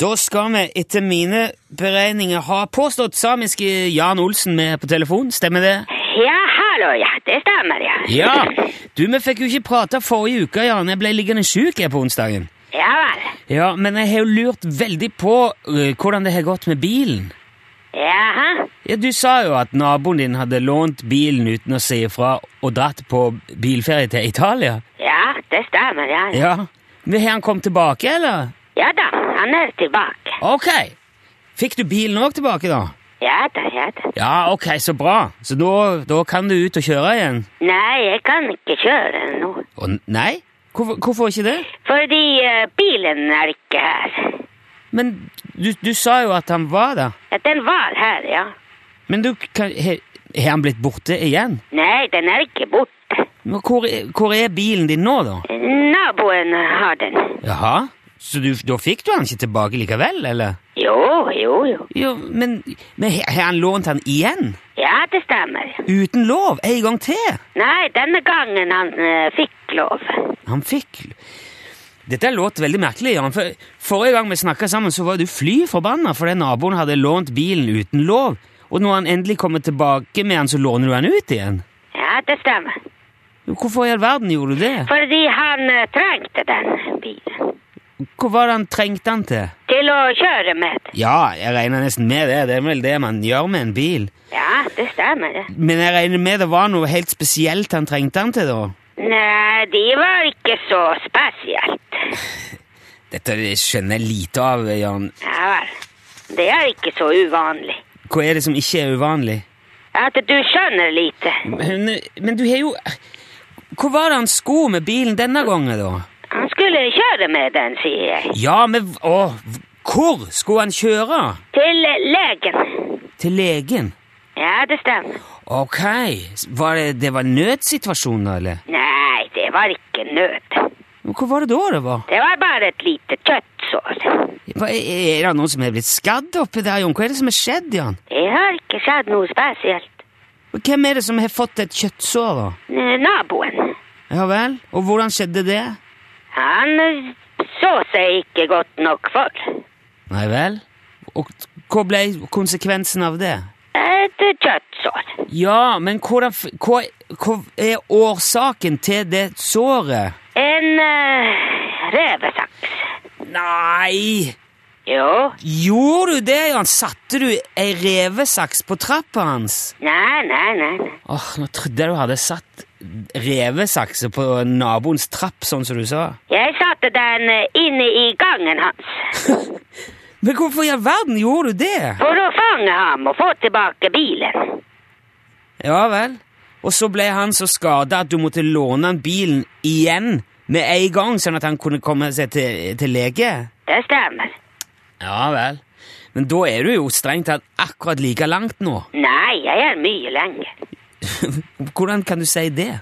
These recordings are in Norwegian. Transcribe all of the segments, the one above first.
Da skal vi etter mine beregninger ha påstått samiske Jan Olsen med på telefon. Stemmer det? Ja, hallo, ja. Det stemmer, ja. Ja! Du, vi fikk jo ikke prate forrige uke, Jan. Jeg ble liggende sjuk her på onsdagen. Ja vel. Ja, men jeg har jo lurt veldig på eh, hvordan det har gått med bilen. Jaha. Ja, Du sa jo at naboen din hadde lånt bilen uten å si ifra og dratt på bilferie til Italia. Ja, det stemmer, ja. Ja, Ja. Men har han kommet tilbake, eller? ja da, han er tilbake. Ok. Fikk du bilen òg tilbake, da? Ja da, ja da. Ja, ok, så bra. Så da, da kan du ut og kjøre igjen? Nei, jeg kan ikke kjøre nå. Å, n- nei? Hvorfor, hvorfor ikke det? Fordi eh, bilen er ikke her. Men du, du sa jo at han var der. Ja, Den var her, ja. Men du kan he- Har han blitt borte igjen? Nei, den er ikke borte. Men hvor, er- hvor er bilen din nå, da? Naboen har den. Jaha? Så du, da fikk du han ikke tilbake likevel, eller? Jo, jo, jo. Jo, men, men har har han lånt han igjen? Ja, det stemmer. Uten lov? En gang til? Nei, denne gangen han eh, fikk lov. Han fikk Dette låter veldig merkelig, Jan. For forrige gang vi snakka sammen, så var du fly forbanna fordi naboen hadde lånt bilen uten lov. Og når han endelig kommer tilbake med han, så låner du han ut igjen. Ja, det stemmer. Hvorfor i all verden gjorde du det? Fordi han eh, trengte den bilen. Hvor var det han trengte han til? Til å kjøre med. Ja, jeg regner nesten med det. Det er vel det man gjør med en bil. Ja, det stemmer. det. Men jeg regner med det var noe helt spesielt han trengte han til, da. Nei, de var ikke så spesielt. Dette skjønner jeg lite av, Jan. Ja vel. Det er ikke så uvanlig. Hva er det som ikke er uvanlig? At du skjønner lite. Men, men du har jo Hvor var det han sko med bilen denne gangen, da? Han skulle kjøre med den, sier jeg. Ja, men å, Hvor skulle han kjøre? Til legen. Til legen? Ja, det stemmer. Ok, var det, det var nødsituasjon, da, eller? Nei, det var ikke nød. Men Hvor var det da det var? Det var bare et lite kjøttsår. Hva- Er det noen som er blitt skadd oppi der, Jon? Hva er det som er skjedd, Jan? Det har ikke skjedd noe spesielt. Og Hvem er det som har fått et kjøttsår, da? N- Naboen. Ja vel? Og hvordan skjedde det? Han eh, så seg ikke godt nok for. Nei vel? Og hva ble konsekvensen av det? Et kjøttsår. Ja, men hvordan, f- hva, hva er årsaken til det såret? En eh, revesaks. Nei! Jo. Gjorde du det, Jan? Satte du ei revesaks på trappa hans? Nei, nei, nei. nei. Åh, Nå trodde jeg du hadde satt revesakser på naboens trapp, sånn som du sa. Jeg satte den eh, inne i gangen hans. Men hvorfor i all verden gjorde du det? For å fange ham og få tilbake bilen. Ja vel. Og så ble han så skada at du måtte låne han bilen igjen med en gang, sånn at han kunne komme seg til, til lege? Det stemmer. Ja vel. Men da er du jo strengt tatt akkurat like langt nå. Nei, jeg er mye lenger. Hvordan kan du si det?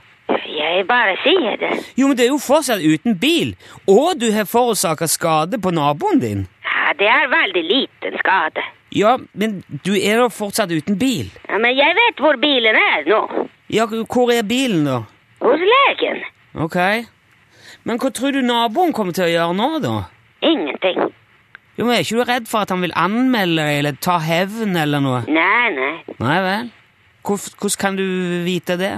Jeg bare sier det. Jo, men det er jo fortsatt uten bil, og du har forårsaka skade på naboen din. Ja, det er veldig liten skade. Ja, men du er da fortsatt uten bil. Ja, men jeg vet hvor bilen er nå. Ja, hvor er bilen, da? Hos legen. Ok. Men hva tror du naboen kommer til å gjøre nå, da? Ingenting. Jo, men Er ikke du redd for at han vil anmelde deg eller ta hevn eller noe? Nei, nei. Nei vel? Hvorf- Hvordan kan du vite det?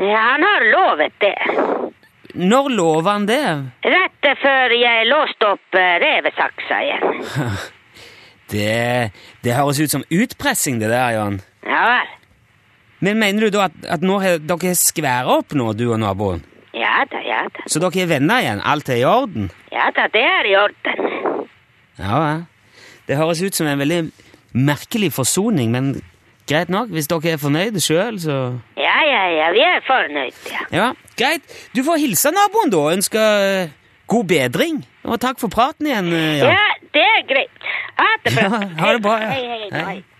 Ja, Han har lovet det. Når lover han det? Rett før jeg låste opp eh, revesaksa igjen. Det, det høres ut som utpressing, det der, Jan. Ja vel. Men mener du da at, at nå har dere har skværet opp nå, du og naboen? Ja da, ja da. Så dere er venner igjen? Alt er i orden? Ja da, det er i orden. Ja, ja. Det høres ut som en veldig merkelig forsoning, men greit nok. Hvis dere er fornøyde sjøl, så Ja, ja, ja, vi er fornøyd, ja. Ja, greit. Du får hilse naboen, da, og ønske eh, god bedring. Og takk for praten igjen, eh, Ja, Jan. det er greit. Ha det bra. Ja, ha det bra, ja. Hei, hei, hei. Hei.